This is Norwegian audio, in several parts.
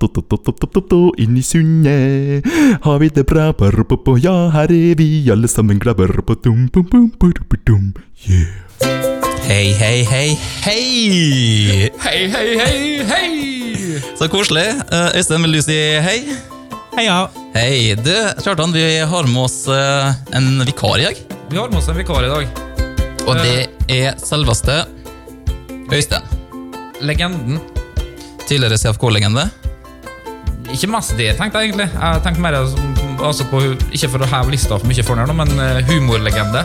Inn i sundet har vi det bra. Ja, her er vi alle sammen glade. Yeah. Hei, hei, hei, hei! Hei, hei, hei, hei! Så koselig. Eh, Øystein, vil du si hei? Heia! Hei. Du, Kjartan, vi har med oss eh, en vikar i dag. Vi har med oss en vikar i dag. Og det er selveste Øystein. Legenden. Tidligere CFK-legende. Ikke mest det jeg tenkte, egentlig. Jeg tenkte mer som- altså på, Ikke for å heve lista for mye for den, her nå, men eh, humorlegende.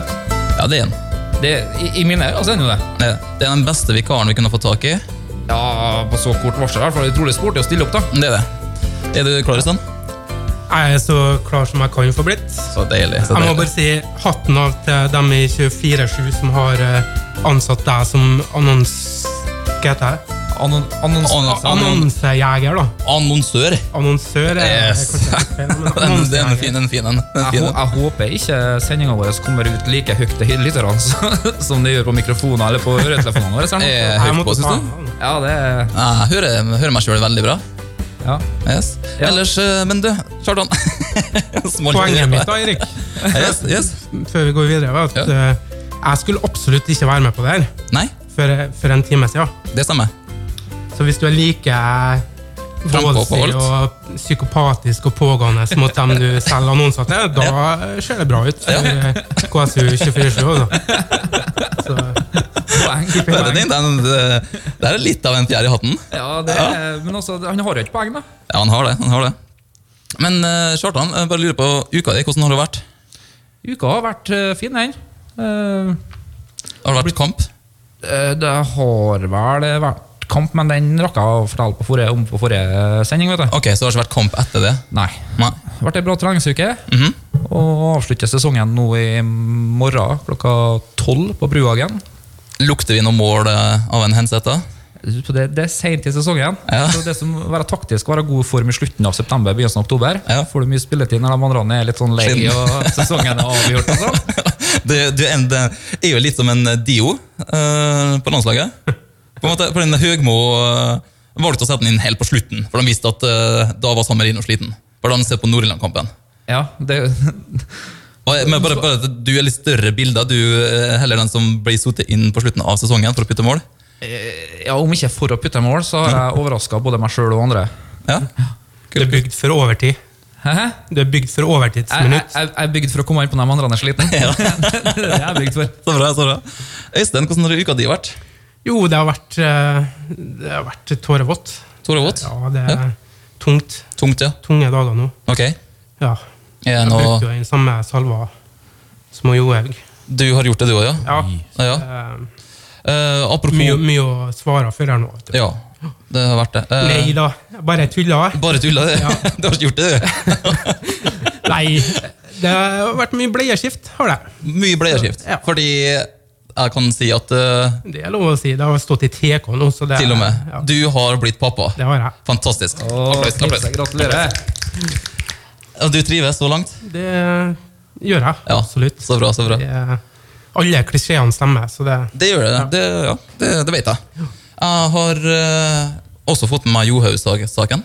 Ja, det er han. Det, i, I mine øyne så er det jo det. Det det er den beste vikaren vi kunne fått tak i. Ja, På så kort varsel, i hvert fall. Utrolig sporty å stille opp, da. Det er det. Er du klar, Øystein? Jeg er så klar som jeg kan få blitt. Så deilig. Så Jeg må deilig. bare si hatten av til dem i 24-7 som har eh, ansatt deg som annons... Hva heter det? Annon, annons, Annon- annon- Annonsejeger, da. Annonsør. Annonsør er Yes. kanskje litt feil, men Den, den er annonsejeger. fin, den er fin. Den er jeg, fin, hå- den. jeg håper ikke sendinga vår kommer ut like høyt til lytterne som- som det gjør på mikrofonen eller på øretelefonene våre. ser du. Er jeg Jeg Eh, høyt måtte på, ta syns du? den. Ja, det er Ja, Jeg hører, hører meg sjøl veldig bra. Ja. Yes. Ja. Ellers, eh, men du, Kjartan Smalt Poenget rett mitt, på. da, Erik, Yes, yes. før vi går videre, var at Ja. eh, jeg skulle absolutt ikke være med på det her Nei, for, eh, for en time siden. det stemmer. Så hvis du er like Frampåholdt. voldsig og psykopatisk og pågående mot dem du selger annonser til, da ser det bra ut for KSU 24-7. altså. Så poeng. Det er, din, den, det, det er litt av en fjær i hatten. Ja, det er, men altså, han har jo ikke poeng, da. Ja, han har det. han har det. Men eh, Kjartan, jeg bare lurer på uka di. Hvordan har det vært? Uka har vært eh, fin, den. Eh, Har det vært kamp? eh, det har vel vært kamp, men den rakk jeg å fortelle på forrige, om på forrige sending. vet du. Ok, Så det har ikke vært kamp etter det? Nei. Nei. Det ble ei bra treningsuke. Mhm. Og avslutter sesongen nå i morgen klokka tolv på Bruhagen. Lukter vi noe mål eh, av en Henseth? Så Det, det er seint i sesongen. Ja. Så det som Være taktisk være god form i slutten av september, begynnelsen av oktober. Ja. Får du mye spilletid når de andre er litt sånn lei Skinn. og sesongen er avgjort. og sånn. Det, det, er en- det er jo litt som en Dio eh, på landslaget. På en måte, for den Høgmo eh, valgte å sette den inn helt på slutten, for de visste at eh, da var Samarino sliten. For da han sett på Nord-Irland-kampen. Ja, det, Og, eh, Men bare, bare, at du er litt større bilder, du eh, heller den som ble sittet inn på slutten av sesongen for å putte mål. Ja, Om ikke for å putte mål, så har Mhm. jeg overraska både meg sjøl og andre. Ja, det er bygd for overtid. Hæ? hæ? Det er bygd for Jeg, jeg, overtidsminutt. jeg jeg er bygd for å komme inn på de andre er sliten. det er det jeg er bygd for. Så bra, så bra. Øystein, hvordan har uka di vært? Jo, det har vært, eh, det har vært tårevått. Tore Watt? Ja, det er tungt. Tungt, ja. Tunge dager nå. Ok. Eh, Ja. Er det Jeg noe- brukte jo den samme salva som Johaug. Du har gjort det, du òg, ja? Ja. ja. Eh, Eh, apropos Mye, mye å svare for her nå. vet du. Ja, det har vært det. Eh, Nei da, bare tulla. Bare tulla, det. Du har ikke gjort det, du. Nei, det har vært mye bleieskift, har det. Mye bleieskift. Ja. Fordi jeg kan si at eh, Det er lov å si. Det har stått i TK nå, så det til og med Ja, du har blitt pappa. det har jeg. Fantastisk. Og Applaus. applaus. gratulerer. Og du trives så langt? Det gjør jeg. Ja, Absolutt. Så bra, så bra. Det er- alle klisjeene stemmer, så det Det gjør det. Det, ja, det, det vet jeg. Jeg har eh, også fått med meg Johaug-saken.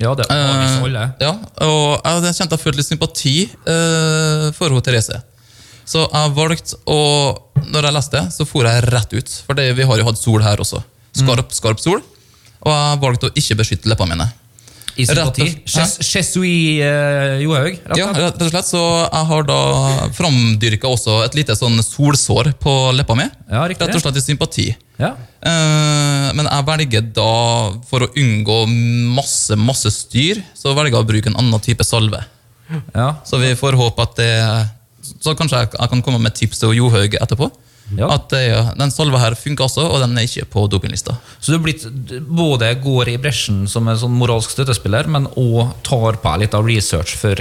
Ja, det Eh, har vi som alle. ja, og jeg jeg kjente jeg følte litt sympati eh, for hun Therese. Så jeg valgte å Når jeg leste, så for jeg rett ut. For det, vi har jo hatt sol her også. Skarp, skarp sol. Og jeg valgte å ikke beskytte leppene mine. I sympati. rett og- Ches- Chesui eh, Johaug. rett og Ja, slett. rett og slett, Så jeg har da framdyrka også et lite sånn solsår på leppa mi. Ja, riktig. rett og slett i sympati. Ja. Eh, men jeg velger da, for å unngå masse, masse styr, så velger jeg å bruke en annen type salve. Ja. Så vi får håpe at det Så kanskje jeg, jeg kan komme med et tips til Johaug etterpå. Ja. At det, den salva her funker også, og den er ikke på dopinglista. Så du er blitt, d- både går i bresjen som en sånn moralsk støttespiller, men òg tar på litt av research for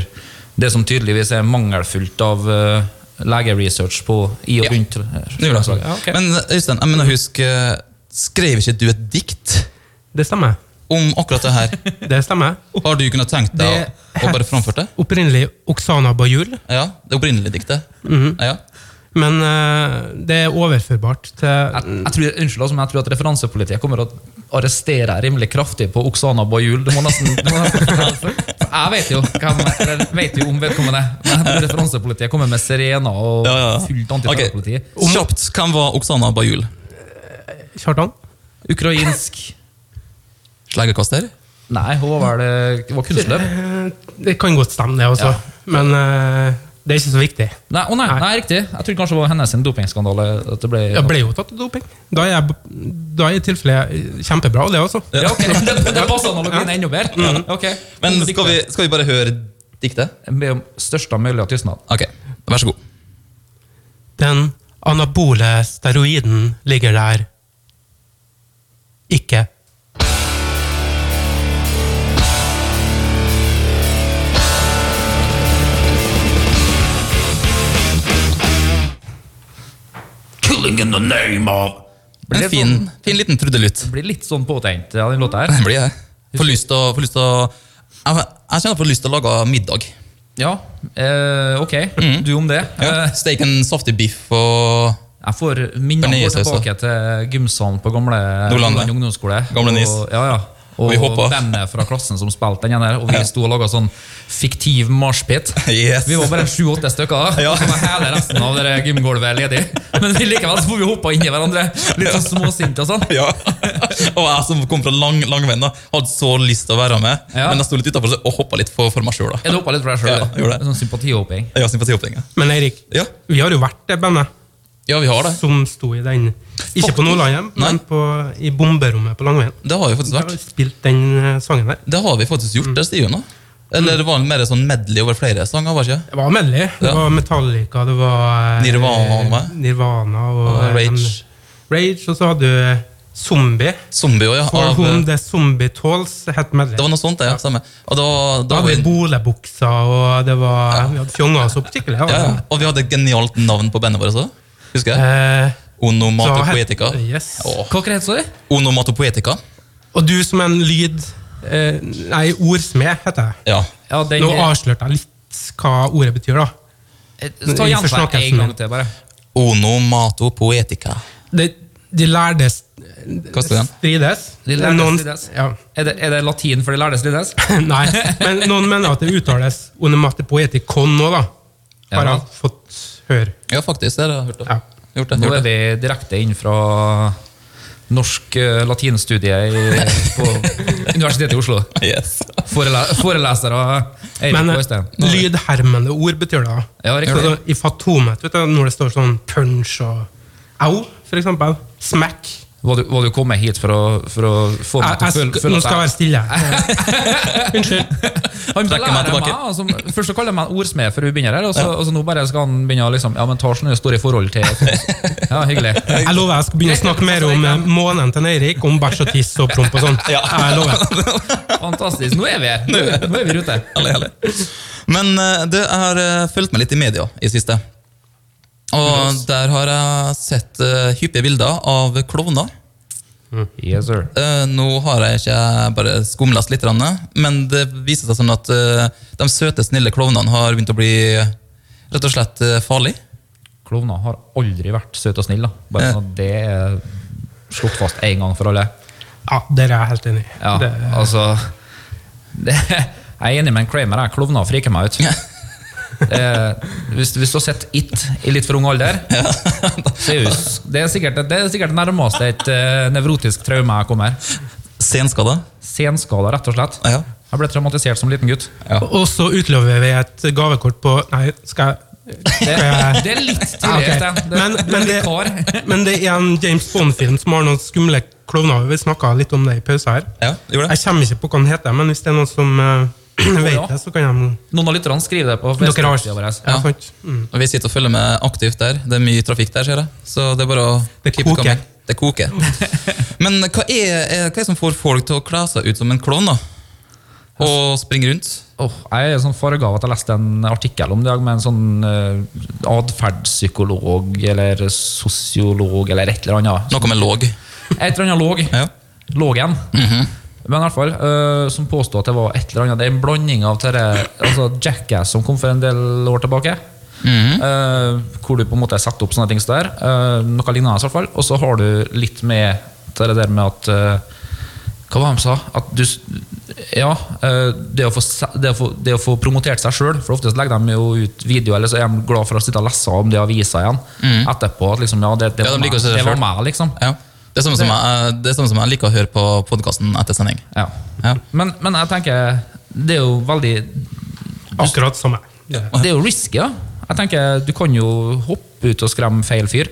det som tydeligvis er mangelfullt av eh, legeresearch på i og Ja. rundt Det gjør det. Ja, ok. Men Øystein, jeg mener, husk eh, Skrev ikke du et dikt Det stemmer. om akkurat det her? Det stemmer. Har du kunnet tenkt deg Det- å, å bare framføre det? Opprinnelig Oksana Bajul. Mhm. Ja, Det opprinnelige diktet? Ja. Men eh, det er overførbart til Jeg, jeg tror, unnskyld, altså, men jeg tror at referansepolitiet kommer å arrestere deg rimelig kraftig på Oksana Bajul. Du må nesten, du må nesten Jeg vet jo, hvem, eller vet jo om vedkommende. Men jeg tror referansepolitiet kommer med Serena og Ja, ja. fullt antiterrorpoliti. Ok, Kjapt, hvem var Oksana Bajul? Kjartan. Ukrainsk Sleggekaster? Nei, hun var vel eh, hun var kunstner. Eh, Det kan godt stemme, det også. Ja. Men eh, det er ikke så viktig. Nei, å nei, nei. riktig. Jeg trodde kanskje det var hennes dopingskandale. At det ble, Jeg ble jo tatt i doping. Da er, jeg, da er jeg i tilfelle kjempebra, det også. ja, ok, Det, det passer analogien enda bedre. Ok. Men skal vi, skal vi bare høre diktet? Jeg ber om størst mulig tystnad. Ok, vær så god. Den anabole steroiden ligger der. Ikke. killing in the name of. En fin, sånn- fin liten trudelutt. Det blir litt sånn påtenkt, ja, den låta her. Det blir det. Får lyst til å, får lyst til å jeg, jeg kjenner på lyst til å lage middag. Ja, eh, ok. Mm. Du om det. Eh, Eh, Steak en saftig biff og jeg får minner går Bearnaisesaus, tilbake til gymsalen på gamle altså. Nordlandet. Nordland ungdomsskole. Gamle Nis. Og, ja, ja. Vi og hoppa. bandet fra klassen som spilte den der. Og vi sto og laga sånn fiktiv marshpit. Yes. Vi var bare sju-åtte stykker, da. Ja. og så var hele resten av det der gymgulvet ledig. Men vi likevel så får vi hoppa inni hverandre, litt sånn småsinte og sånn. Ja. og jeg som kom fra lang, langveien, da, hadde så lyst til å være med, Ja. men jeg sto litt utafor og hoppa litt for, for meg sjøl. Jeg hoppa litt for deg Ja, sjøl. gjorde det. sånn sympatihopping. Jeg har sympatihopping. jeg. Men Eirik, Ja. vi har jo vært det bandet ja, vi har det. som sto i den. Ikke på Nordlandet, Nei. men på, i bomberommet på Langveien. Det har vi faktisk Vi har vært. spilt den eh, sangen der. Det har vi faktisk gjort, det sier hun da. Eller det var det mer sånn medley over flere sanger? var det ikke? Det var medley. Det Ja. var Metallica, det var eh, Nirvana. Nirvana og Og Rage. eh, Rage, og så hadde du eh, Zombie. Zombie også, ja. For Av, whom det the zombie tolls het medley. var noe sånt, det, ja. Stemmer. Og da, Da da hadde var vi vi, bolebukser, og det var, vi hadde fjonga oss opp skikkelig. ja. ja, ja. Og vi hadde et genialt navn på bandet vårt også. Husker jeg? Eh, Onomatopoetica. så het- yes. Åh. Hva het det? Onomatopoetica. Og du som en lyd eh, Nei, ordsmed, heter jeg. Ja. Ja, den, Nå ah, avslørte jeg litt hva ordet betyr, da. Eh, ta gjenta det en gang til, bare. Onomatopoetica. De, de lærde s- Hva står det igjen? strides. De lærde Noen- strides. Ja. Er det, er det latin for de lærde strides? Nei, men noen mener at det uttales onomatopoetikon nå, da. Har Ja. jeg fått høre. Ja, faktisk. Det har jeg hørt. om. Ja. Gjort det, Nå gjort er det. vi direkte inn fra norsk eh, latinstudie i, på Universitetet i Oslo. Yes. Forele, forelesere Eirik Men og eh, Øystein. lydhermende ord betyr det. da. Ja, riktig. Så I fatomet, vet du, når det står sånn punch og au, for eksempel. Smack. Var du, var du kommet hit for å, for å få meg Jeg, jeg, til å føle, sk- føle nå skal jeg være stille. Han Trekker meg lærer tilbake. altså, først så kaller han meg ordsmed før vi begynner her, og så, og så nå bare skal han begynne å liksom Ja, men Tarsen er jo stor i forhold til Ja, hyggelig. Jeg lover jeg skal begynne å snakke mer om eh, månen til Eirik, om bæsj og tiss og promp og sånn. Jeg lover. Fantastisk. Nå er vi her. Nå, nå er vi i rute. Herlig, herlig. Men eh, du, jeg har eh, fulgt meg litt i media i siste. Og der har jeg sett eh, hyppige bilder av klovner. Yes, sir. Eh, nå har jeg ikke bare skumlest litt, grann, men det viser seg sånn at eh, de søte, snille klovnene har begynt å bli rett og slett eh, farlig. Klovner har aldri vært søte og snille. da. Bare sånn at Det er slått fast én gang for alle. Ja, der er jeg helt enig. Ja, Det, altså det, Jeg er enig med en Kramer. jeg. Klovner friker meg ut. Eh, hvis, hvis du har sett It i litt for ung alder så er jo s- Det er sikkert det er sikkert det nærmeste et eh, nevrotisk traume jeg kommer. Senskada. Senskada, rett og slett. Ja. Jeg ble traumatisert som liten gutt. Og så utlover vi et gavekort på Nei, skal jeg Det, jeg- det er litt Ja, ok. tidlig. Øystein. Det- men, du er men, litt det, hard. men det er en James Bond-film som har noen skumle klovner. Vi snakka litt om det i pausen her. Ja, gjorde det. Jeg kommer ikke på hva den heter, men hvis det er noen som eh, ja. vet det, så kan jeg Noen av lytterne skriver det på Dere har Facebook-sida vår. Ja, sant. Mm. Og Vi sitter og følger med aktivt der. Det er mye trafikk der, ser jeg. Så det er bare å Det keep koker. coming. Det koker. Men hva er, er, hva er det som får folk til å kle seg ut som en klovn? da? Og springe rundt? Åh, jeg er sånn farga av at jeg leste en artikkel om det i dag med en sånn uh, atferdspsykolog eller sosiolog eller et eller annet. Noe med låg. Et eller annet låg. Ja. Mhm. Lågen. Men i hvert fall, eh, som påstod at det var et eller annet. Det er en blanding av dette, altså Jackass som kom for en del år tilbake. Mhm. eh, hvor du på en måte setter opp sånne ting. som det her, eh, noe lignende, i hvert fall. Og så har du litt med til det der med at eh, Hva var det de sa? At du, s- ja, eh, det, å få, se- det, å få, det å få promotert seg sjøl, for oftest legger de jo ut video, eller så er de glad for å sitte og lese om det i avisa igjen etterpå. At liksom, ja, det, det, Mhm. Ja, de var liker å meg, se det det var selv. meg, liksom. Ja. Det er samme som jeg, det er samme som jeg liker å høre på podkasten etter sending. Ja. Ja. Men, men jeg tenker Det er jo veldig Akkurat som meg. Det. Det er jo risky, da. Jeg tenker Du kan jo hoppe ut og skremme feil fyr,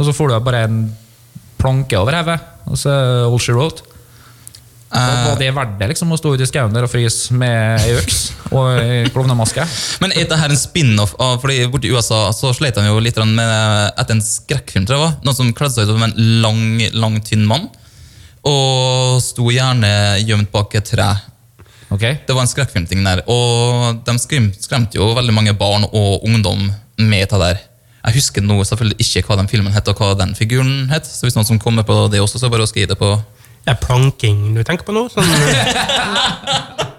og så får du bare en planke over hodet, og så er det all she wrote. Eh, Var det verdt det, liksom, å stå ute i skauen der og fryse med ei øks og ei klovnemaske? Men er dette her en spin-off? av- Fordi Borti USA så slet han jo litt grann med eh, etter en skrekkfilm. tror jeg det var. Noen som kledde seg ut som en lang, lang, tynn mann. Og sto gjerne gjemt bak et tre. Ok? Det var en skrekkfilmting der. Og de skrem, skremte jo veldig mange barn og ungdom med det der. Jeg husker nå selvfølgelig ikke hva den filmen het, og hva den figuren het. Så hvis noen som kommer på det også, så bare å skrive det på Det er planking du tenker på nå? Sånn,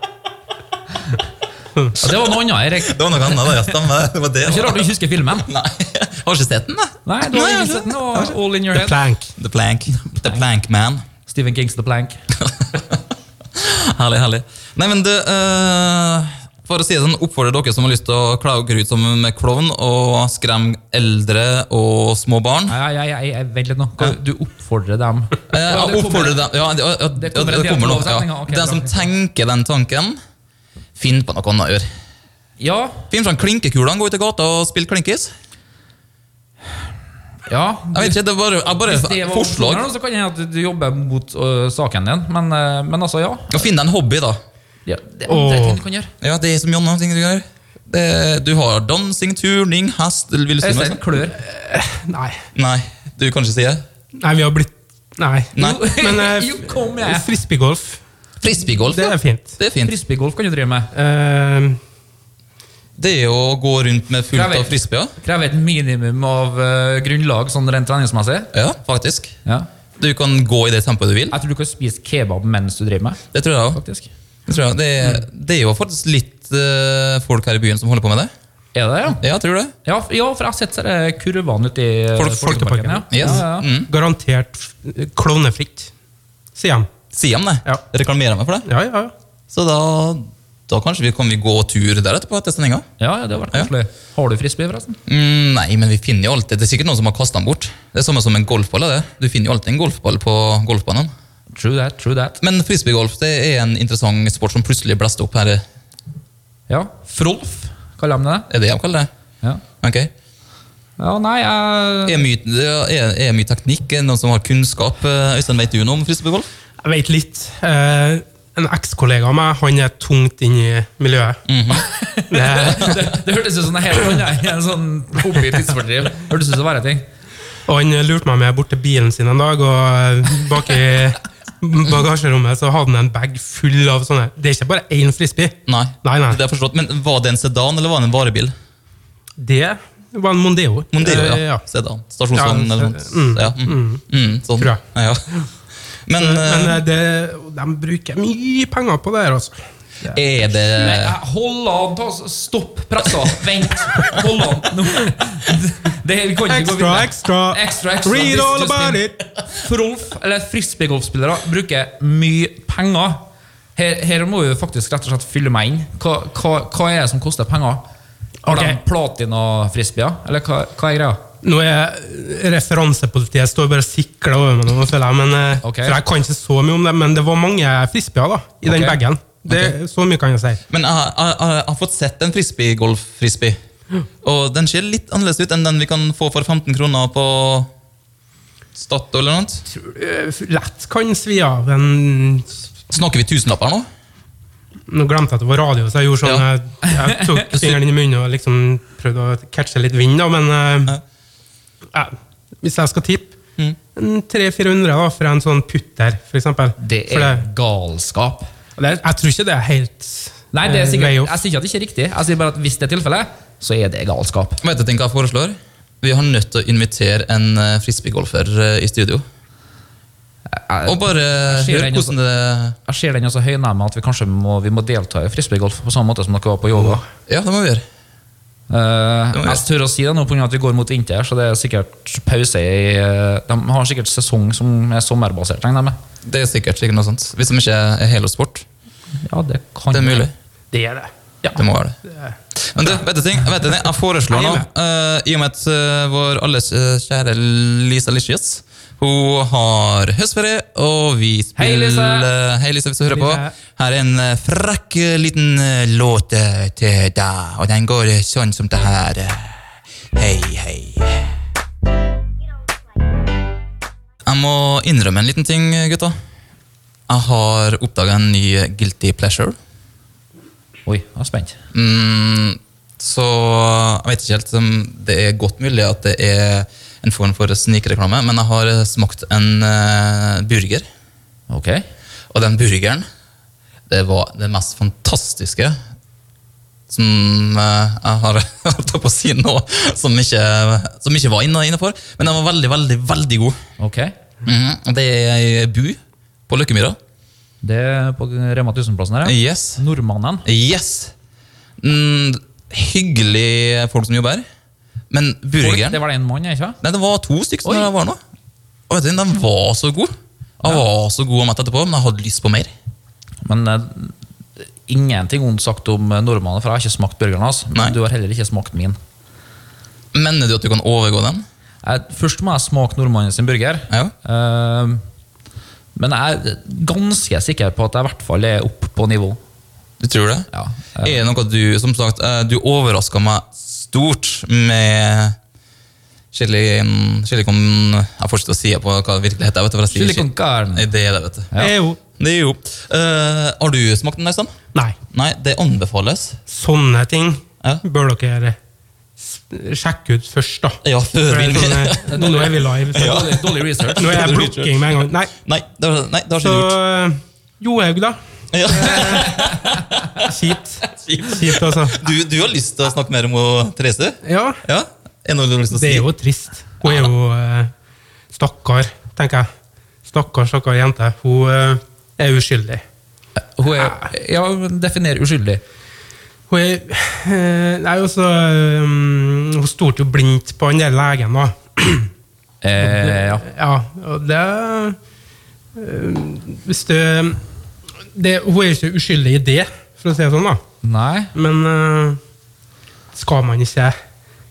Ja, det var noe annet, Erik. Det var noe annet, da. Ja, stemmer det. Det var det. Ikke da. rart du ikke husker filmen. Nei, jeg har ikke sett den, jeg. Nei, du har jeg ingen har sett den, ikke og All in your head. plank. The Plank. The Plank Man. Stephen Kings The Plank. Herlig, herlig. Nei, men det, eh, for å si det sånn, oppfordrer dere som har lyst til å klage ut som med klovn og skremme eldre og små barn. Nei, nei, nei, nei, vent litt nå. Du oppfordrer dem. Eh, jeg oppfordrer dem ja, det, ja, det, Det ja, kommer en det kommer nå. dialog- Ja. setninger, ok, Den som bra. tenker den tanken, finn på noe annet å gjøre. Ja, Finn fram klinkekulene, gå ut i gata og spill klinkis. ja. Jeg vet ikke, det er bare, jeg bare Hvis det var forslag. opsjoner, så kan det hende at du jobber mot øh, saken din. Men, øh, men altså, ja. Og Finn deg en hobby, da. ja det, det er ting Åh. du kan gjøre. Ja, det er som Jonna ting du gjør. Det, du har dansing, turning, hest vil du si noe? Øystein, klør. Eh, Nei. Nei, du kan ikke si det. Nei, vi har blitt Nei. Nei. Men eh, Jo, kom igjen. frisbeegolf, Frisbeegolf, det ja. er fint. Det er fint. Frisbeegolf kan du drive med. Eh, Det er jo å gå rundt med fullt Krever- av frisbeer. Krever et minimum av øh, grunnlag sånn rent treningsmessig. Ja, faktisk. Ja. Du kan gå i det tempoet du vil. Jeg tror du kan spise kebab mens du driver med. Det tror jeg også. faktisk. Det, tror jeg. Det, er- det er jo faktisk litt eh, folk her i byen som holder på med det. Er det det, ja? Ja, jeg tror det. Ja, f- ja for jeg har sett disse kurvene ute i øh, Folk- Folkeparken, Ja. Yes. Ja, ja, ja. Mm. garantert f- klovnefritt, sier han. Sier de det? Ja. Reklamerer meg for det? Ja, ja, ja. Så da, da kanskje vi kan vi gå tur der etterpå etter sendinga? ja, ja, det har vært Ja. koselig. Har du frisbee, forresten? Mm, nei, men vi finner jo alltid Det er sikkert noen som har kasta den bort. Det er samme som en golfball. er det. Du finner jo alltid en golfball på golfbanen. True that, true that. Men frisbeegolf det er en interessant sport som plutselig blåste opp her. Ja. Frolf, kaller de det. Er det det de kaller det? Ja, Ok. ja nei, jeg Er mye, er, er mye teknikk? Er det noen som har kunnskap? Eh, Øystein, vet du noe om frisbeegolf? Jeg vet litt. Eh, en ekskollega av meg, han er tungt inne i miljøet. Mhm. det, Det, det hørtes ut som det hele hånda i en sånn hobby tidsfordriv. Hørtes ut som verre ting. og han lurte meg med bort til bilen sin en dag, og eh, bak i bagasjerommet så hadde han en bag full av sånne. Det er ikke bare én frisbee. Nei. Nei, nei. Det har jeg forstått. Men Var det en sedan eller var det en varebil? Det var en Mondeo. Mondeo, Eh, ja. Sedan. Stasjonsvogn Ja, eller noe sånt. Ja. Mm. Mm, sånn. Tror jeg. Ja. Men, Men eh, det, de bruker mye penger på det her, altså. eh, er det Nei, jeg- Hold an, ta, stopp pressa. Vent. Hold an. Nå. Det her kan ikke gå Extra, videre. extra. Extra, extra. Read This all just about in. it! Frolf, eller frisbeegolfspillere, bruker mye penger. Her, her må vi faktisk rett og slett fylle meg inn. Hva, hva, hva er det som koster penger? Har de Ok. platina-frisbeer, eller hva, hva er greia? Nå er referansepolitiet står bare og sikler over meg nå, føler jeg. Men, eh, Ok. For jeg kan ikke så mye om det, men det var mange frisbeer da, i den Ok. bagen. Det, Så mye kan jeg si. Men jeg, jeg, jeg, jeg har fått sett en frisbeegolf-frisbee. Og den ser litt annerledes ut enn den vi kan få for 15 kroner på Statoil eller noe. Tror du, eh, Lett kan svi av en Snakker vi tusenlapper nå? Nå glemte jeg at det var radio, så jeg gjorde sånn Ja. eh, Jeg tok fingeren inn i munnen og liksom prøvde å catche litt vind, da, men eh, eh, Hvis jeg skal tippe Mm. en 300-400 da, for en sånn putter, for eksempel. Det For er galskap. det, jeg tror ikke det er helt Nei, det er eh, sikkert, vei opp. jeg sier ikke at det ikke er riktig. Jeg sier bare at hvis det er tilfellet, så er det galskap. Vet du ting jeg foreslår? Vi har nødt til å invitere en eh, frisbeegolfer eh, i studio. Og Jeg, bare ser hør den også. hvordan det jeg ser den også høyne med at vi kanskje må, vi må delta i frisbeegolf på samme måte som dere var på yoga. Ja, det må vi gjøre. Eh, jeg tør å si det nå pga. at vi går mot vinter, så det er sikkert pause i eh, De har sikkert sesong som er sommerbasert, regner jeg med. Det er sikkert sikkert noe sånt. Hvis de ikke er helosport. Ja, det kan Det er mulig. Det er det. Det må være det. Men du, vet du ting? Vet du ting? Jeg foreslår nå, eh, i og med at eh, vår alles eh, kjære Lisa Lischius hun har høstferie, og vi Hei, spiller Lise! Hei, Lise, hvis du hører på. Lise. Her er en eh, frekk eh, liten eh, låt eh, til deg, og den går eh, sånn som det her. eh. Hei, hei. Jeg må innrømme en liten ting, gutta. Jeg har oppdaga en ny eh, guilty pleasure. Oi, jeg er spent. Mm, så jeg vet ikke helt om det er godt mulig at det er en form for snikreklame, men jeg har eh, smakt en eh, burger. Ok. Og den burgeren, det var det mest fantastiske som eh, jeg har holdt på å si nå, som ikke, som ikke var innafor. Men den var veldig, veldig, veldig god. ok Mhm, og Det er ei bu på Løkkemyra. Det er på Rema 1000-plassen her, ja. Yes. Nordmannen. Yes! Mm, hyggelig folk som jobber her. Men burgeren Det var det en mann, ikke sant? Nei, det var to stykker Oi. når jeg var nå. Og vet du, den var så god. Jeg var så god og mett etterpå, men jeg hadde lyst på mer. Men eh, ingenting ondt sagt om eh, nordmannen, for jeg har ikke smakt burgeren hans. Nei. Men du har heller ikke smakt min. Mener du at du kan overgå den? Jeg, først må jeg smake nordmannen sin burger. Ja. Eh, men jeg er ganske sikker på at jeg i hvert fall er opp på nivå. Du tror det? Ja. Er det noe du Som sagt, eh, du overraska meg stort med chili Chili con Jeg får ikke til å si det på hva det virkelig heter. Vet du, for jeg sier Chili con chi- carne. Nei, Det er det, vet du. Ja. Jeg er jo Det er jo. Eh, har du smakt den, Øystein? Nei. Nei, det anbefales. Sånne ting Ja. bør dere eh, s- sjekke ut først, da. Ja, før For vi- det er sånn, eh, Nå nå er vi live. Så. Dårlig, dårlig research. Nå er jeg blokking med en gang. Nei, Nei, det har, nei, det har så ikke du gjort. eh, Johaug, da. Ja. Kjipt. Kjipt, altså. Du, du har lyst til å snakke mer om hun, Therese? Ja, Ja? Er det noe du har lyst til å si? det er jo trist. Hun er jo eh, stakkar, tenker jeg. Stakkar, stakkar jente. Hun eh, er uskyldig. Hun er, ja, men definer uskyldig. Hun er eh, Nei, altså um, Hun stolte jo blindt på den der legen, da. Eh, ja. Ja, og det eh, Hvis du det, Hun er jo ikke uskyldig i det, for å si det sånn, da. Nei. Men eh, skal man ikke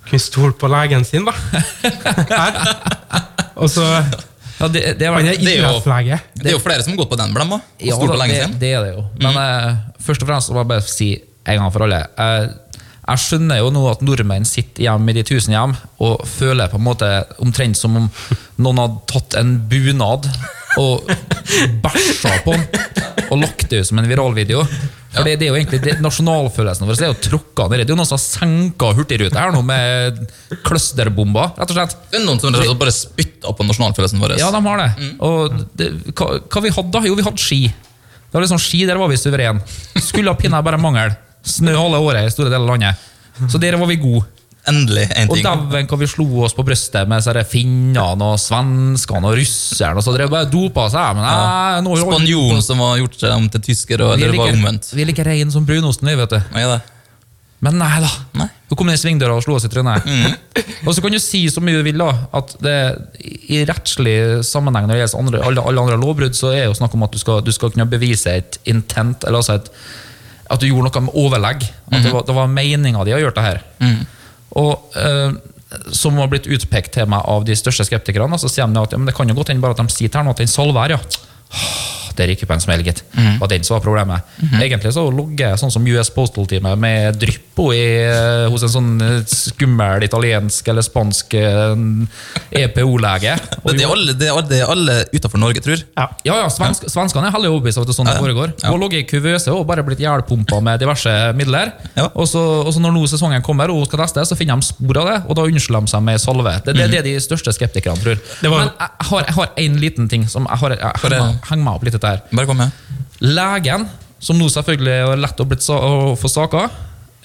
kunne stole på legen sin, da? Her. Og så Ja, det, det, er, Han er vel- Det er jo- idrettslege. Det er jo flere som har gått på den blemma. og ja, stort da, og lenge det, siden. Mm. det er det jo. Men eh, først og fremst så må jeg bare si en gang for alle. Jeg, jeg skjønner jo nå at nordmenn sitter hjemme i de tusen hjem og føler på en måte omtrent som om noen hadde tatt en bunad og bæsja på den og lagt det ut som en viralvideo. For det, det er jo egentlig det, Nasjonalfølelsen vår det er jo tråkka ned. Det er jo noen som har senka Hurtigruta her nå med clusterbomber, rett og slett. Det er noen som rett og slett bare spytta på nasjonalfølelsen vår. Ja, de har det. Mm. Og det, hva, hva vi hadde da? Jo, vi hadde ski. Det var liksom Ski, der var vi suveren. Skulle ha pinadø bare mangel. Snø halve året i store deler av landet. Så der var vi gode. Endelig en Og ting. dæven hva vi slo oss på brystet med disse her finnene og svenskene og russerne. Og så drev bare dopa seg. Men nei, nå er vi ordentlig- Spanjolen som har gjort seg om til tysker, og, vi er eller det var like- omvendt. Vi er like reine som brunosten, vi, vet du. Hva er det? Men nei da. Nei. Du kom ned i svingdøra og slo oss i trynet. Og så kan du si så mye du vil, da, at det, i rettslig sammenheng når det gjelder andre, alle, alle andre lovbrudd, så er det jo snakk om at du skal, du skal kunne bevise et intent, eller altså et, at du gjorde noe med overlegg. At det var, det var meninga di å gjøre det her. Og eh, som har blitt utpekt til meg av de største skeptikerne, så sier de at ja, men det kan jo godt hende bare at de sier til her nå at den salve her, ja. Der gikk jo på en smell, gitt. Det Mhm. var den som var problemet. Egentlig så logger jeg sånn som US Postal-teamet med dryppo i, eh, hos en sånn eh, skummel italiensk eller spansk eh, EPO-lege. Det, Og det er jo- alle, det er alle, det er alle utenfor Norge, tror Ja. Ja, ja, svensk, Svenskene er heller overbevist av at det er sånn det foregår. Hun har ligget i kuvøse og bare blitt jernpumpa med diverse midler. Ja. Og, så, og så når nå sesongen kommer og hun skal teste, så finner de spor av det, og da unnskylder de seg med salve. Det, det er det de største skeptikerne tror. Mhm. Det var- Men jeg har- jeg har én liten ting som jeg har, jeg henger, henger meg opp litt i dette her. Bare kom med. Legen, som nå selvfølgelig er lett å, blitt sa å få saker,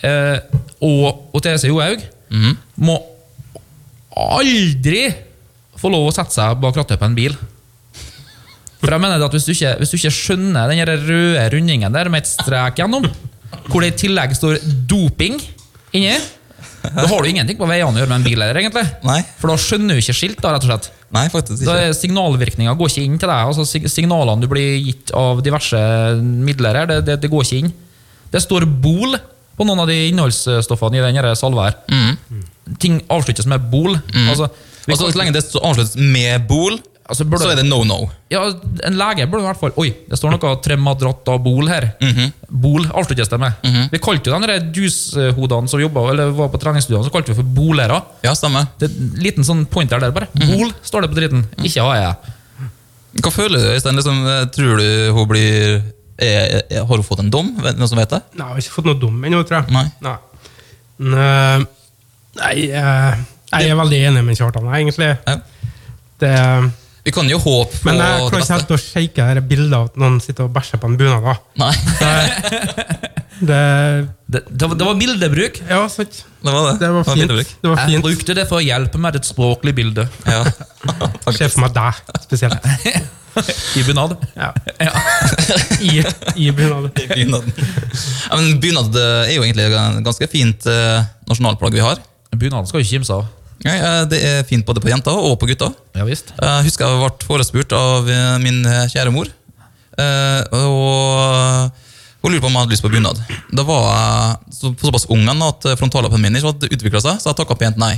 eh, og, og Therese Johaug, må aldri få lov å sette seg bak rattet på en bil. For jeg mener det at hvis du ikke, hvis du ikke skjønner den her røde rundingen der med et strek gjennom, hvor det i tillegg står doping inni, Da har du ingenting på veiene å gjøre med en bil her, egentlig. Nei. For da skjønner du ikke skilt, da, rett og slett. Nei, faktisk Da ikke. er Signalvirkninga går ikke inn til deg. altså sig- Signalene du blir gitt av diverse midler her, det, det, det går ikke inn. Det står bol på noen av de innholdsstoffene i den her salva her. Mm. Ting avsluttes med bol. Altså, vi Altså, kan- Så lenge det så avsluttes med bol, Altså, burde- så er det no no. ja, en lege burde i hvert fall Oi, det står noe tremadratabol her. Mhm. Bol avsluttes det med. Vi kalte jo de der dushodene som jobba, eller var på treningsstudioene, så kalte vi for bolere. Ja, stemmer. Det er en liten sånn pointer der, bare. Mhm. Bol står det på dritten. Ikke E AE. Hva føler du, Øystein? Liksom, eh, tror du hun blir er, er, Har hun fått en dom? Vet- Noen som vet det? Nei, jeg har ikke fått noe dum ennå, tror jeg. Nei. Men, eh, Nei, eh, jeg er veldig enig med Kjartan, jeg, egentlig. Ja. Det, um, Vi kan jo håpe på men jeg klarer det ikke beste. helt å shake det der bildet av at noen sitter og bæsjer på en bunad. da. Nei, Det, Det, det, var- det var bildebruk. ja, sant. det var det. Det var et fint. øyeblikk. Det var Jeg fint. brukte det for å hjelpe med et språklig bilde Ja. Se for meg deg, spesielt. i bunad. Ja. I, i bunad. Bunaden. Ja, men bunad eh, er jo egentlig et ganske fint eh, nasjonalplagg vi har. Bunaden skal jo ikke kimse av. Ja, eh, Det er fint både på jenter og på gutter. Ja visst. Jeg Eh, husker jeg ble forespurt av eh, min eh, kjære mor. eh, Og hun lurte på om jeg hadde lyst på bunad. Da var jeg så- såpass ung igjen at frontallappen min ikke hadde utvikla seg, så jeg takka pent nei.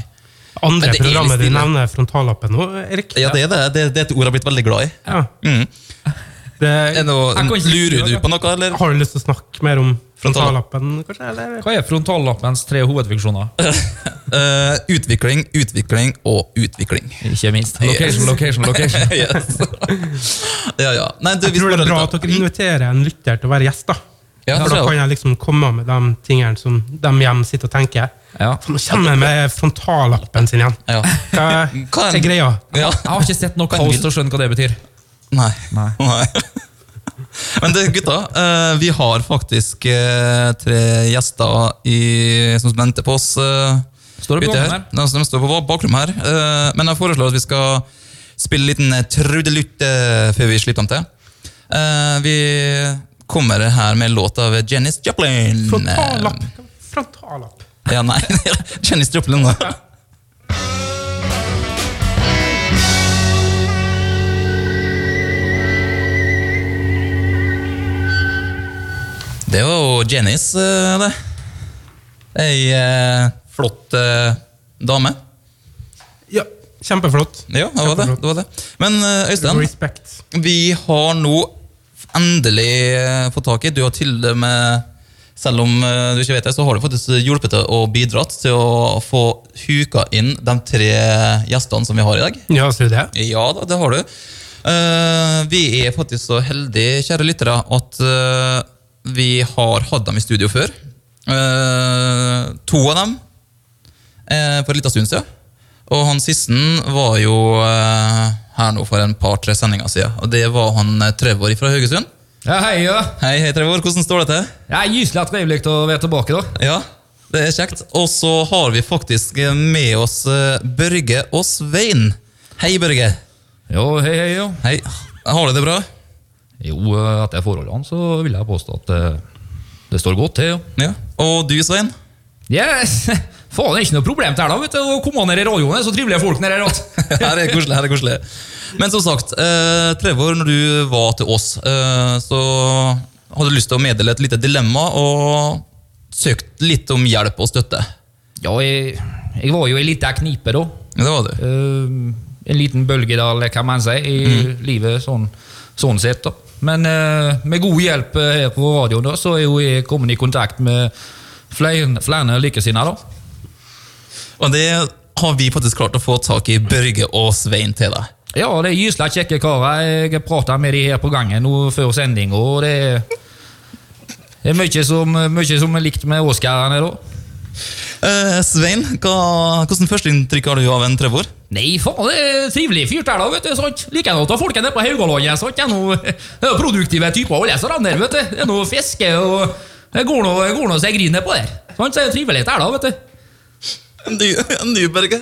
Men Andre det er programmet du stille. nevner frontallappen nå, Erik. Ja, Det er det, det, det er et ord jeg har blitt veldig glad i. Ja. Mm. Er Det, det noe, Jeg kan ikke lurer si du det. på noe, eller? har du lyst til å snakke mer om Frontallapp. frontallappen, kanskje? Eller? Hva er frontallappens tre hovedfunksjoner? Eh, utvikling, utvikling og utvikling. Ikke minst. Location, location, location. yes. ja, ja. Nei, du, Jeg tror det er bra at dere inviterer en lytter til å være gjest. da. Mm. Ja, For da det er kan jeg liksom komme med de tingene som de hjemme sitter og tenker. Ja. For nå kommer jeg med frontallappen sin igjen. Ja. Hva hva Hva er- er greia? Ja. Jeg har ikke sett noe kaos til å skjønne hva det betyr. Nei. Nei. Nei. Men det, gutta, eh, vi har faktisk eh, tre gjester i, som venter på oss. eh, Står det på ute gangen her. her? Ja, så De står på bakrom her. Eh, Men jeg foreslår at vi skal spille en liten eh, trudelutt eh, før vi slipper dem til. Eh, Vi kommer her med en låt av Janis Joplin. Frontallapp. Frontallapp. Ja, nei. Janis Joplin, da. Det var jo Jennys, eh, det. Ei eh, flott eh, dame. Ja, kjempeflott. Ja, det var det. det, var det. Men eh, Øystein, Respekt. vi har nå endelig eh, fått tak i Du har til og med, selv om eh, du ikke vet det, så har du faktisk hjulpet til og bidratt til å få huka inn de tre gjestene som vi har i dag. Ja, sier du det? Ja da, det har du. Eh, vi er faktisk så heldige, kjære lyttere, at eh, vi har hatt dem i studio før. Eh, to av dem eh, for en liten stund siden. Og han siste var jo eh, her nå for en par-tre sendinger siden. Og det var han eh, Trevor fra Haugesund. Ja, hei, ja. Hei, hei Trevor, hvordan står det til? Jeg er gyselig at vi er å være tilbake, da. Ja, det er kjekt. Og så har vi faktisk eh, med oss eh, Børge og Svein. Hei, Børge. Jo, hei, hei, jo. Hei. Har du det bra? Jo, eh, etter forholdene så vil jeg påstå at eh, det står godt til, jo. Ja. Og du, Svein? Yes! Faen, det er ikke noe problem til her, da, vet du. Å komme ned i radioen, det er så trivelige folk nede her. vet du. Her er koselig. her er koselig. Men som sagt, eh, Trevor, når du var til oss, eh, så hadde du lyst til å meddele et lite dilemma og søkt litt om hjelp og støtte. Ja, jeg, jeg var jo i lita knipe, da. Ja, Det var du. Eh, en liten bølgedal, eller hva man sier, i livet sånn, sånn sett. da. Men eh, med god hjelp eh, her på radioen da, så er jo jeg kommet i kontakt med flere, flere likesinnede. da. Og det har vi faktisk klart å få tak i Børge og Svein til deg. Ja, det er gysla kjekke karer. Jeg prater med de her på gangen nå før sending, og det er, det er mye, som, mye som er likt med Oscarene, da. Eh, Svein, hva, hvordan førsteinntrykk har du av en Trevor? Nei, faen, det er trivelig fyr der, da, vet du. sant? Liker nå å ta folket ned på Haugalandet. sant? Det er noe- det er noe produktive typer alle som renner, vet du. Det er noe fiske og Det går nå det går nå så jeg griner på der. Sant? Så er det trivelig der, da, vet du. Du, du Børge?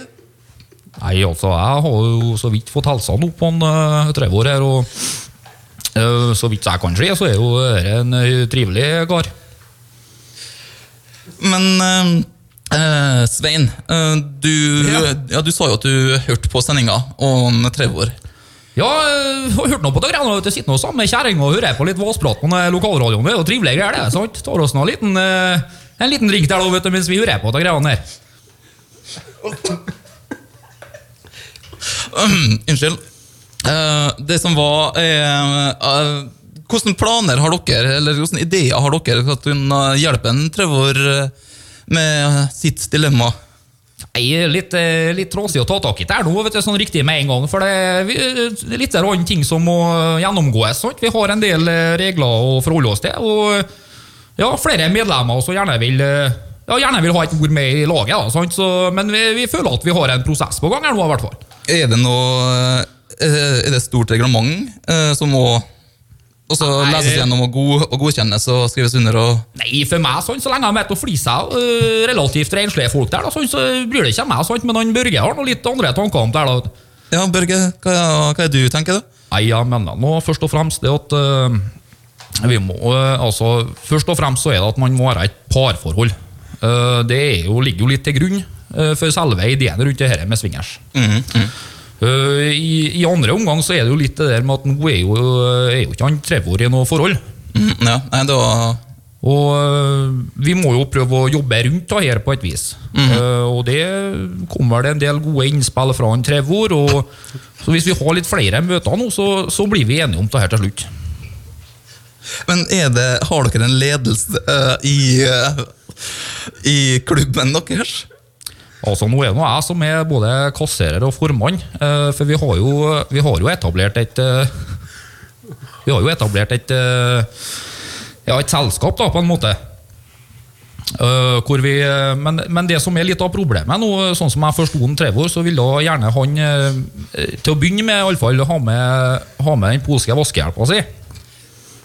Nei, altså, jeg har jo så vidt fått helsa nå på en uh, Trevor her, og eh, så vidt jeg kan se, så er jo dette en eh, trivelig kar. Men eh, Eh, Svein, eh, du, ja. du sa jo at du hørte på sendinga om Trevor. Ja, jeg har hørt noe på det greiene. vet du. Sitter nå sammen med kjerringa og hører på litt våsprat på den lokalradioen. Det er jo trivelige greier, det. sant? Tar oss nå en liten, eh, en liten drink der da, vet du, mens vi hører på de greiene her. Mm, Unnskyld. Eh, det som var eh, eh, Hvilke planer har dere, eller hvilke ideer har dere for at kunne hjelpe en Trevor eh, med sitt dilemma? Jeg er litt, eh, litt tråsig å ta tak i det her nå, vet du, sånn riktig med en gang. For det vi- det er litt der annen ting som må gjennomgåes. sant? Vi har en del eh, regler å forholde oss til. Og ja, flere medlemmer som gjerne vil eh, ja, gjerne vil ha et ord med i laget. Da, sant? Så, men vi, vi føler at vi har en prosess på gang her nå, i hvert fall. Er det noe eh, Er det et stort reglement eh, som må også Nei, leses det- gjennom og, god, og godkjennes og skrives under? og... Nei, for meg, sånn, så lenge han vet å flise seg øh, relativt renslige folk der, da, sånn, så bryr det ikke meg, sånn, men han Børge har noen litt andre tanker om det. her, da. Ja, Børge, hva, hva er du tenker du? Nei, jeg mener nå først og fremst det at øh, vi må, øh, altså, først og fremst så er det at man må være et parforhold. Øh, det er jo, ligger jo litt til grunn øh, for selve ideen rundt det her med swingers. Øh, i, I andre omgang så er det jo litt det der med at nå er jo, eh, er jo ikke han Trevor i noe forhold. Mm, ja, nei, det var Og øh, vi må jo prøve å jobbe rundt det her på et vis. Eh, og det kommer det en del gode innspill fra en Trevor. Og, så hvis vi har litt flere møter nå, så, så blir vi enige om det her til slutt. Men er det, har dere en ledelse eh, i, eh, i klubben deres? Altså Nå er det nå jeg som er både kasserer og formann, eh, for vi har jo, vi har jo etablert et eh, Vi har jo etablert et eh, Ja, et selskap, da, på en måte. Eh, hvor vi, eh, men, men det som er litt av problemet nå, eh, sånn som jeg forsto han Trevor, så ville gjerne han eh, til å begynne med i alle fall, ha med, ha med den polske vaskehjelpa si.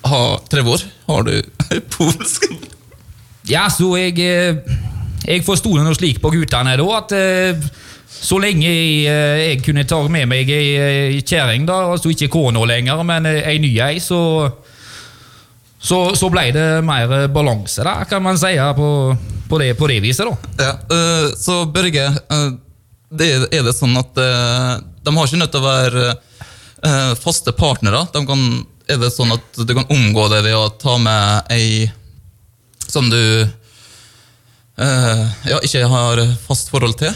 Har Trevor, har du polsk Ja, så jeg, eh, jeg forsto det noe slik på guttene da, at eh, så lenge jeg, eh, jeg kunne ta med meg ei ei kjerring, da, altså ikke kona lenger, men eh, ei ny ei, så, så, så ble det mer eh, balanse, da, kan man si, på, på, det, på det viset. da. Ja, eh, så Børge, eh, det, er det sånn at eh, de har ikke nødt til å være eh, faste partnere? De kan, er det sånn at du kan omgå det ved å ta med ei som du eh, ja, ikke har fast forhold til?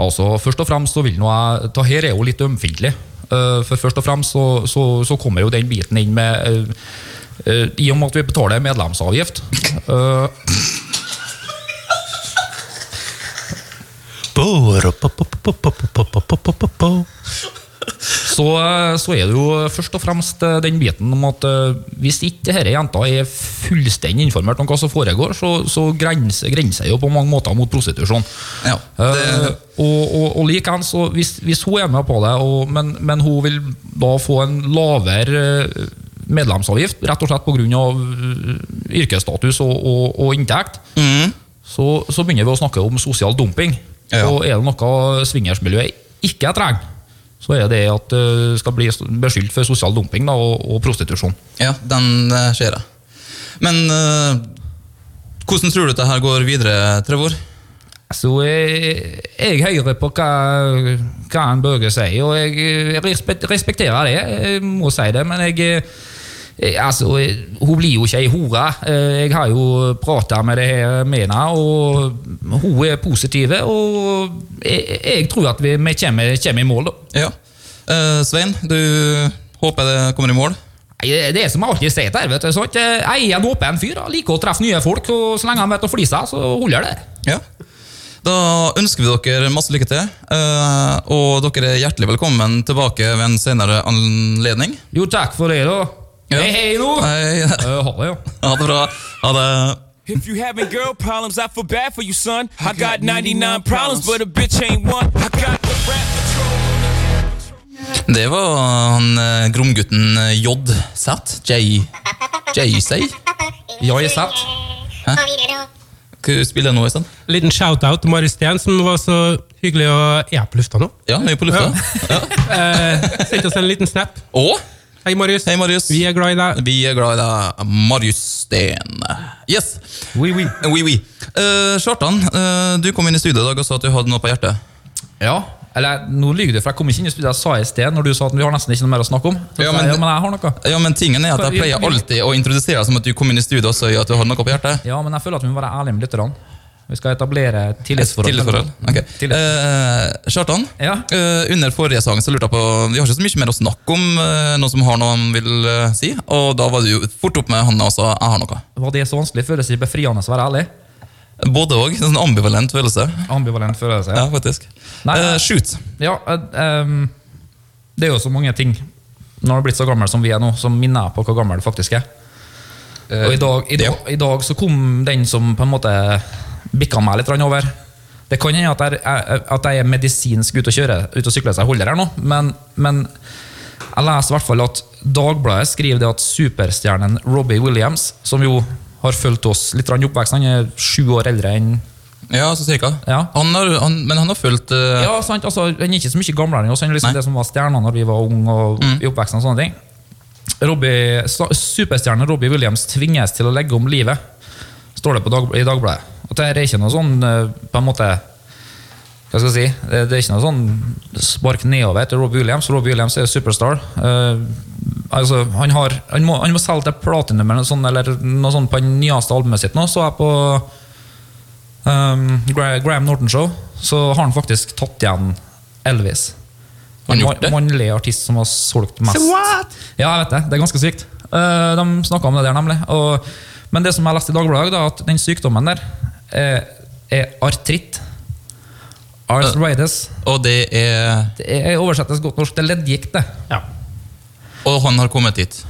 Altså, Først og fremst så vil nå jeg Det her er jo litt ømfintlig. eh, For først og fremst så, så, så kommer jo den biten inn med eh, eh, I og med at vi betaler medlemsavgift. eh, så, eh, så er det jo først og fremst eh, den biten om at eh, hvis ikke denne jenta er fullstendig informert om hva som foregår, så, så grenser, grenser jo på mange måter mot prostitusjon. Ja, Eh, det, og og, og likeens, så hvis, hvis hun er med på det, og, men, men hun vil da få en lavere eh, medlemsavgift, rett og slett pga. eh, yrkesstatus og, og, og inntekt, mm, så, så begynner vi å snakke om sosial dumping. Ja. Og er det noe swingersmiljøet ikke trenger, så er det at det skal bli beskyldt for sosial dumping da, og, og prostitusjon. ja, den eh, ser jeg. Men eh, hvordan tror du dette her går videre, Trevor? Så Altså, jeg, jeg hører på hva, hva en Børge sier, og jeg eh, respek- respekterer det. Jeg må si det, men jeg, eh, altså, eh, hun blir jo ikke ei hore. Eh, Jeg har jo prata med det her med henne, og hun er positiv. Og jeg, jeg tror at vi, vi kommer, kommer i mål, da. Ja. Eh, Svein, du håper det kommer i mål? Nei, Det er som jeg alltid sier til her, vet du. sant? Jeg er en åpen fyr. Jeg liker å treffe nye folk, og så lenge han vet å flise, så holder det. Ja. Da ønsker vi dere masse lykke til, eh, og dere er hjertelig velkommen tilbake ved en senere anledning. Jo, takk for det, da. Ja. Hei, hei, nå! Hei, Eh, Ha det, ja. ha det bra. Ha det. If you having girl problems, I feel bad for you, son. I got 99 problems, but a bitch ain't one. I got the rap patrol. Det var han eh, gromgutten eh, JZ. J. JC. Ja, jeg setter. Hva spiller jeg nå i stedet? Liten shout-out til Mari Steen, som var så hyggelig å er jeg på lufta nå. Ja, vi er på lufta. Eh, Sendte oss en liten snap. Og Hei, Marius. Hei, Marius. Vi er glad i deg. vi er glad i deg, Marius Steen. Yes! Oui, oui. Oui, oui. Eh, Kjartan, eh, du kom inn i studio i dag og sa at du hadde noe på hjertet. Ja, eller nå lyver du, for jeg kom ikke inn i studiet jeg sa i sted når du sa at vi har nesten ikke noe mer å snakke om. Så Ja, sa men- jeg, ja, men jeg har noe. Ja, men tingen er at Jeg pleier alltid å introdusere deg som at du kom inn i studio og sa at du hadde noe på hjertet. Ja, men jeg føler at vi må være ærlige med lytterne. Vi skal etablere et tillitsforhold. Tillitsforhold. Ok. Tillit. Eh, Kjartan, Ja. eh, under forrige sang så lurte jeg på Vi har ikke så mye mer å snakke om, eh, noen som har noe han vil eh, si. Og da var du jo fort opp med hånda og sa 'jeg har noe'. Var det så vanskelig? Føles det ikke befriende å være ærlig? Både òg. En sånn ambivalent følelse. Ambivalent følelse. Ja, faktisk. Nei. Eh, shoot. Ja, eh, ehm, det er jo så mange ting når du har blitt så gammel som vi er nå, som minner på hvor gammel du faktisk er. Og i dag, i, dag, i dag så kom den som på en måte bikka meg litt grann over. Det kan hende at, jeg er- eh, at jeg er medisinsk ute og kjører, ute og sykler så jeg holder her nå, men, men jeg leser i hvert fall at Dagbladet skriver det at superstjernen Robbie Williams, som jo har fulgt oss litt grann i oppveksten, han er sju år eldre enn Ja, så cirka. Ja. Han har, han, men han har fulgt eh, Ja, sant, altså, Han er ikke så mye gamlere enn oss. Han er liksom Nei. Mm. det som var stjerna når vi var unge. Og i oppveksten og sånne ting Robbie, sta- Superstjernen Robbie Williams tvinges til å legge om livet, står det på dag, i Dagbladet. Og det her er ikke noe sånn eh, på en måte hva skal jeg si, det, det er ikke noe sånn spark nedover til Robbie Williams. Robbie Williams er superstar. Eh, altså, han, har, han, må, han må selge til platinum eller noe sånt, eller noe sånt på det nyeste albumet sitt. Nå så jeg på Um, Gra- Graham Norton Show Så har han faktisk tatt igjen Elvis. Har han En gjort det? Mannlig artist som har solgt mest. Say what? Ja, jeg vet det. Det er ganske sykt. Eh, de snakka om det der, nemlig. Og, men det som jeg leste i Dagbladet, i dag, da, at den sykdommen der eh, er artritt. Arthritis. Og det er Det er- oversettes godt norsk til leddgikt. det. Ja. Og han har kommet hit.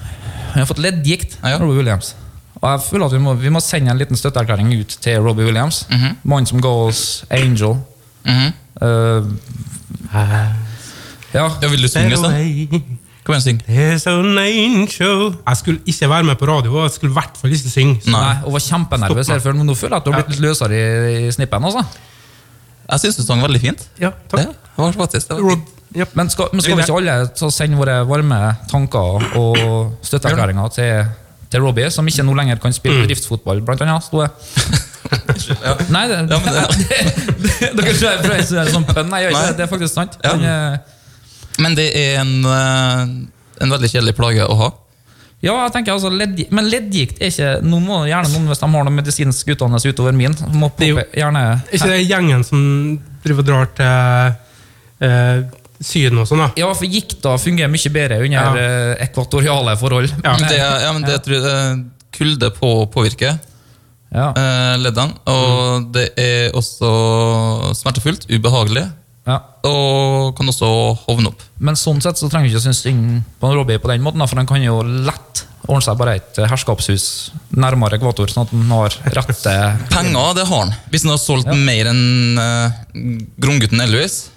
Han har fått leddgikt. Ja, ja. Robbie Williams. Og jeg føler at vi må, vi må sende en liten støtteerklæring ut til Robbie Williams. Mannen som ga oss Angel. Mhm. Eh, ja. Ja, Vil du synge, så? Kom igjen, syng. There's an angel Jeg skulle ikke være med på radio, og jeg skulle i hvert fall ikke synge. Så Nei, og var kjempenervøs her før, men nå føler jeg at du har blitt litt løsere i, i snippen. altså. Jeg syns du sang veldig fint. Ja, takk. Ja, det var faktisk det. Var Rob, fint. ja. Men skal, men skal vi ikke alle så sende våre varme tanker og støtteerklæringer til, til Robbie, som ikke nå lenger kan spille bedriftsfotball, blant annet? Sto det. Nei, Mm. det, Ja, men det- Dere tror jeg prøver å sånn pønn. Nei, jeg gjør ikke det. Det er faktisk sant. Ja. Men, eh, Men det er en, eh, en veldig kjedelig plage å ha. Ja, jeg tenker altså leddgikt, Men leddgikt er ikke Nå må gjerne noen, hvis de har noe medisinsk utdannelse utover min, må påpe, gjerne Er ikke det gjengen som driver og drar til eh, Syden og sånn, da? Ja, for gikta fungerer mye bedre under Ja. eh, ekvatoriale forhold. Ja. Det, ja, men det tror jeg eh, kulde på påvirker Ja. eh, leddene. Og Mm. det er også smertefullt, ubehagelig, Ja. og kan også hovne opp. Men sånn sett så trenger vi ikke synes synd på en Robbie på den måten, da, for han kan jo lett ordne seg bare et herskapshus nærmere ekvator, sånn at han har rette Penger, det har han. Hvis han har solgt mer enn uh, Gromgutten Elvis,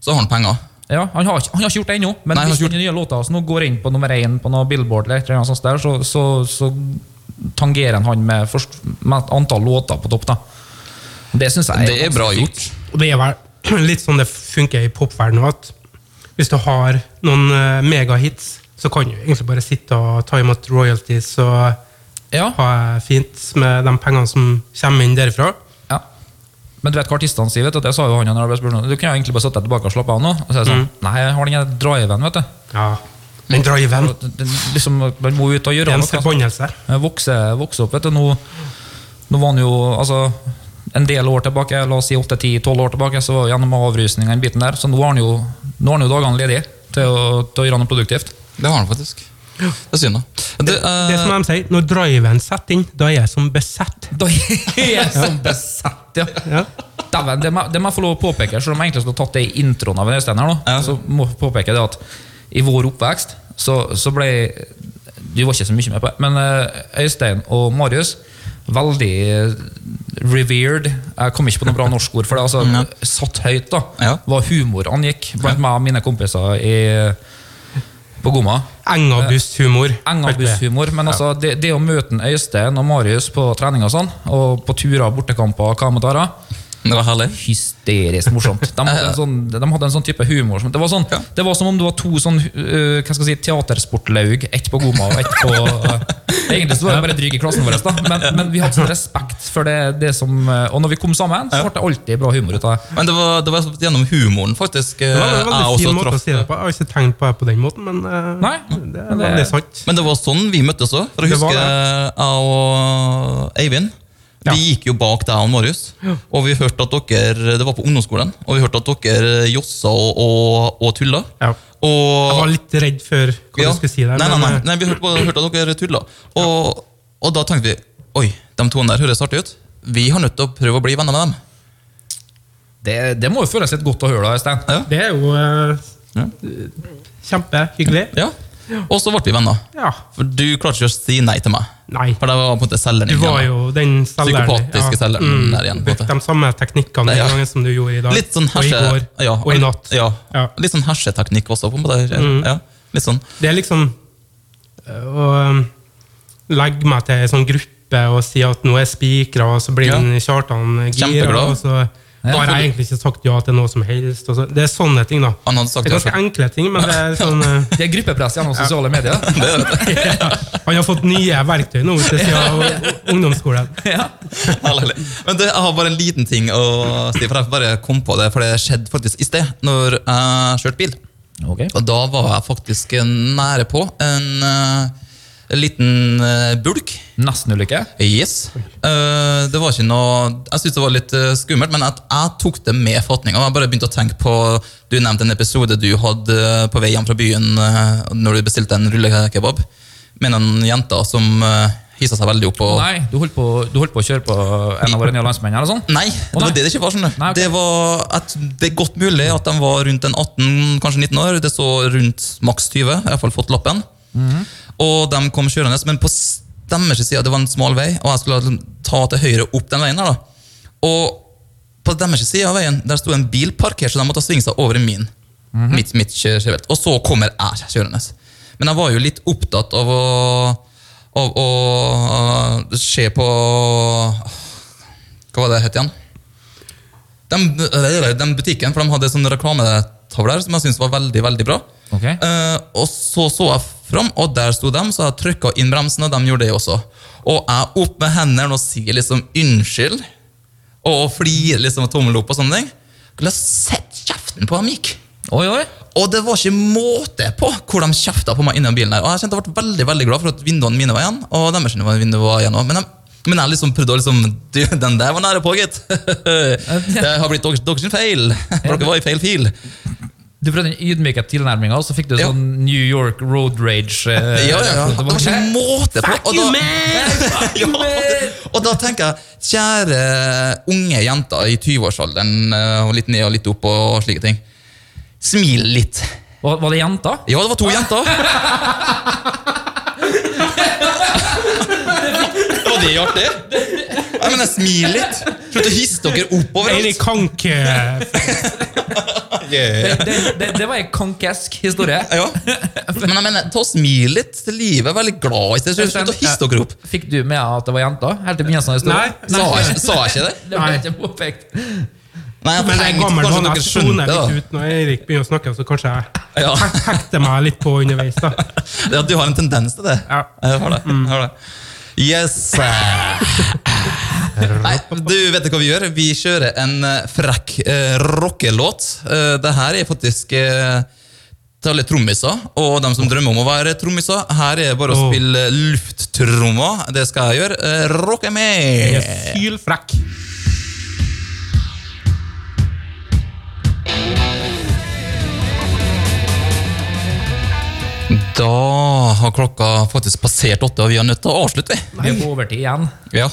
så har han penger. Ja, han har, ikke- han har ikke gjort det ennå, men Nei, han har hvis ikke den nye låta hans nå går inn på nummer én på noe Billboard, eller et eller annet sånt der, så, så, så tangerer han med, først, med et antall låter på topp. da. Det syns jeg Det er bra ganske sykt. gjort. Og det er vel litt sånn det funker i popverdenen at hvis du har noen eh, megahits, så kan du egentlig bare sitte og ta imot royalties og Ja. ha det fint med de pengene som kommer inn derifra. Ja. Men du vet hva artistene sier? vet du, at Jeg sa jo han når jeg ble spurt om det. Du kunne jo egentlig bare satt deg tilbake og slappe av nå. Og så er jeg Mm. sånn, Nei, jeg har den her driven, vet du. Ja, Den driven. Og det- det- Liksom, Man må ut og Det gjøre er en noe. altså. forbannelse. Jeg Eh, Vokse, vokse opp, vet du. Nå, nå var han jo altså, en del år tilbake, la oss si 8-10-12 år tilbake, så var jo gjennom avrusninga den biten der. Så nå har han jo, nå har han jo dagene ledige til å, til å gjøre noe produktivt. Det har han faktisk. Det er synd, da. Det, eh, Det er som de sier, når driven setter inn, da er jeg som besett. Da er jeg som besatt, ja. Ja. Dæven, det, må, det må jeg få lov å påpeke, selv om jeg egentlig skulle tatt det i introen av en Øystein her nå. Så må jeg påpeke det at i vår oppvekst så, så ble Du var ikke så mye med på det, men eh, Øystein og Marius Veldig eh, revered. Jeg kom ikke på noe bra norsk ord for det. altså Satt høyt, da. Ja. Var humor angikk blant meg og mine kompiser i, på Goma. Engabusthumor. Eh, Engabusshumor. Men altså, det, det å møte en Øystein og Marius på trening og sånn, og på turer, bortekamper og hva med det det var herlig. Hysterisk morsomt. De hadde en sånn, de hadde en sånn type humor. som- Det var, eh, sånn, Ja. det var som om du var to sånn, øh, hva skal jeg si, teatersportlaug. Ett på Goma og ett på øh, Egentlig så var det bare dryg i klassen vår, da. Men, men vi hadde sånn respekt for det, det som eh, Og når vi kom sammen, så ble det alltid bra humor ut av det. Men det var, det var gjennom humoren, faktisk. eh, Det var en jeg veldig også fin måte å traff- si det på. Jeg har ikke tenkt på det på den måten, men eh, Nei, det er men det- veldig sant. Men det var sånn vi møttes òg. For jeg Det var husker jeg og Eivind. Ja. Vi gikk jo bak deg og Marius, og vi hørte at dere det var på ungdomsskolen, og vi hørte at dere jossa og, og, og tulla. Ja. Jeg var Og, litt redd for hva ja. du skulle si der. nei, nei, nei, men, eh, nei, vi hørte, på- hørte at dere tulla. Og, og da tenkte vi oi, de to der høres artige ut. Vi har nødt til å prøve å bli venner med dem. Det, det må jo føles litt godt å høre, da, Øystein. Ja. Det er jo eh, kjempehyggelig. Ja. Og så ble vi venner. Ja. For du klarte ikke å si nei til meg. Nei. For det var på en måte selgeren. Du igjen, var da. jo den selgeren. Mm. Psykopatiske selgeren der igjen, på en brukte måte. De samme teknikkene Nei, ja. den gangen som du gjorde i dag. Litt sånn herse... Og i går. ja, og i natt. Ja. Ja. Mm. Litt sånn herseteknikk også. på en måte. Ja. Litt sånn. Det er liksom øh, å øh, legge meg til en sånn gruppe og si at nå er spikra, og så blir Ja. den Kjartan gira, Kjempeglad. og så har jeg egentlig ikke sagt ja til noe som helst. Og så. Det er sånne ting, da. Han hadde sagt det er ja ganske enkle ting, men det er sånn øh, Det er gruppepress gjennom sosiale medier. Det er det. Han har fått nye verktøy nå til siden av ungdomsskolen. Herlig. Men det, jeg har bare en liten ting å si, for jeg bare kom på det, for det skjedde faktisk i sted, når jeg kjørte bil. Ok. Og da var jeg faktisk nære på en eh, liten eh, bulk. Nestenulykke. Yes. Eh, det var ikke noe Jeg synes det var litt eh, skummelt, men at jeg tok det med fatninga. Jeg bare begynte å tenke på Du nevnte en episode du hadde eh, på vei hjem fra byen eh, når du bestilte en rullekebab med noen jenter som uh, hissa seg veldig opp. Og, Nei, du holdt, på, du holdt på å kjøre på en av våre nye landsmenn her og sånn? Nei, det Å, nei. var det det ikke var. skjønner du. Nei, ok. Det var at det er godt mulig at de var rundt en 18, kanskje 19 år. Det så rundt maks 20. Jeg har i hvert fall fått lappen. Mhm. Og de kom kjørende, men på s- deres side det var en smal vei, og jeg skulle liksom ta til høyre opp den veien. her da. Og på deres side av veien der sto en bil parkert, så de måtte svinge seg over i min. Mhm. mitt, mitt kjø- kjørefelt. Og så kommer jeg kjørende. Men jeg var jo litt opptatt av å, av å øh, se på hva var det het igjen? De, den butikken, for de hadde sånne reklametavler som jeg syntes var veldig veldig bra. Ok. Eh, og så så jeg fram, og der sto de, så jeg trykka inn bremsen, og de gjorde det også. Og jeg opp med hendene og sier liksom unnskyld, og flirer liksom av tommel opp og sånne ting. Skulle ha sett kjeften på dem gikk. Oi, oi. Og det var ikke måte på hvor de kjefta på meg innom bilen. der. Og jeg kjente jeg ble veldig veldig glad for at vinduene mine var igjen. og deres vinduer var igjen også. Men, de, men jeg liksom prøvde å liksom du, Den der var nære på, gitt! Det har blitt deres deres feil! For dere var i feil fil. Du prøvde den ydmyke tilnærminga, og så fikk du Ja. sånn New York road rage. Ja, eh, ja, ja. reaksjon. Det var ikke måte på! Og da, ja, man! og da tenker jeg, kjære unge jenter i 20-årsalderen, eh, og litt ned og litt opp og slike ting. Smil litt. Var, var det jenta? Ja, det var to jenter. Var det artig? Nei, men jeg smiler litt. Slutt å hisse dere oppover. Eller alt. kanke Ja. Det, det, det var ei kankesk historie. Men jeg mener, ta og smil litt til livet. Vær litt glad i stedet. Slutt- Slutt å hisse dere opp. Fikk du med at det var jenta? Helt til sånn begynnelsen av historien? Sa Nei. jeg, ikke- sa jeg ikke det? Det ble ikke påpekt. Nei, jeg Men det er tenkte gammel kanskje vane. dere Jeg soner skjønte det. litt ut når Eirik begynner å snakke, så kanskje jeg Ja. hek- hekter meg litt på underveis. da. Ja, du har en tendens til det. Ja. Mm. Jeg har det. Jeg har det. Yes! Nei, du vet hva vi gjør? Vi kjører en eh, frekk eh, rockelåt. Eh, det her er faktisk eh, til alle trommiser og dem som drømmer om å være trommiser. Her er det bare å Åh. spille lufttrommer. Det skal jeg gjøre. Eh, rocke Jeg med! er sylfrekk. Da har klokka faktisk passert åtte, og vi er nødt til å avslutte. vi. Vi er på overtid igjen. Ja.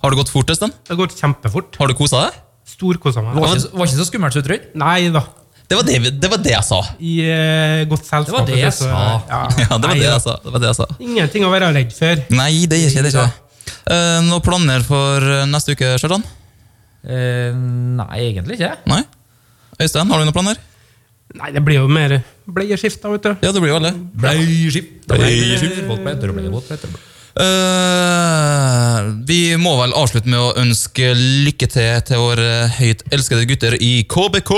Har det gått fort, Øystein? Det går kjempefort. Har du kosa deg? Storkosa meg. Det var ikke, så- var ikke så skummelt som du trodde. Nei da. Det var det, vi- det, var det jeg sa. I eh, godt selskap. Det var det jeg så- sa. Ja, det var Nei, det da. jeg sa. Det var det jeg sa. Ingenting å være redd for. Nei, det er ikke det. Er ikke. det. Eh, noen planer for eh, neste uke, Kjartan? Eh, nei, egentlig ikke. Nei? Øystein, har du noen planer? Nei, det blir jo mer bleieskift, da, vet du. Ja, det blir jo det. Bleiskift, bleiskift. Eh, vi må vel avslutte med å ønske lykke til til våre høyt elskede gutter i KBK!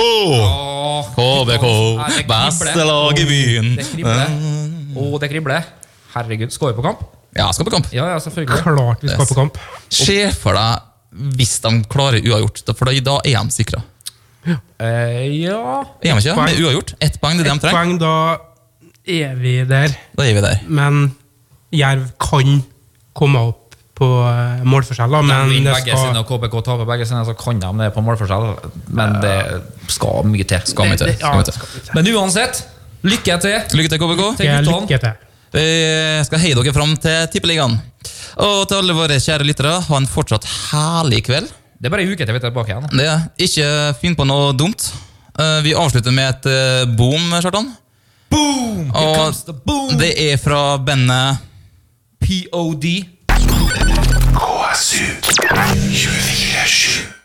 KBK, beste lag i byen. Det kribler. Å, det kribler. Herregud, skal vi på kamp? Ja, skal på kamp. Ja, ja, selvfølgelig. Klart vi skal på kamp. Se for deg hvis de klarer uavgjort, da- for da- da er de sikra. Eh, ja Er de ikke? poeng. Med uavgjort. Ett poeng, det er det de trenger. Poeng, da er vi der. Da er vi der. Men Jerv kan komme opp på eh, målforskjell, da, Men men det begge sine, skal og KBK taper begge sine, så kan de det på målforskjell. Men det skal mye til. Skal vi til. Det- det- ja, Skal vi det skal vi til. til. Men uansett, lykke til. Lykke til, KBK. Til guttene. Lykke til. Vi skal heie dere fram til Tippeligaen. Og til alle våre kjære lyttere, ha en fortsatt herlig kveld. Det er bare en uke til vi er tilbake igjen. Det er Ikke finn på noe dumt. Eh, Vi avslutter med et eh, boom, Kjartan. Boom! comes the boom! det er fra bandet POD. KSU 247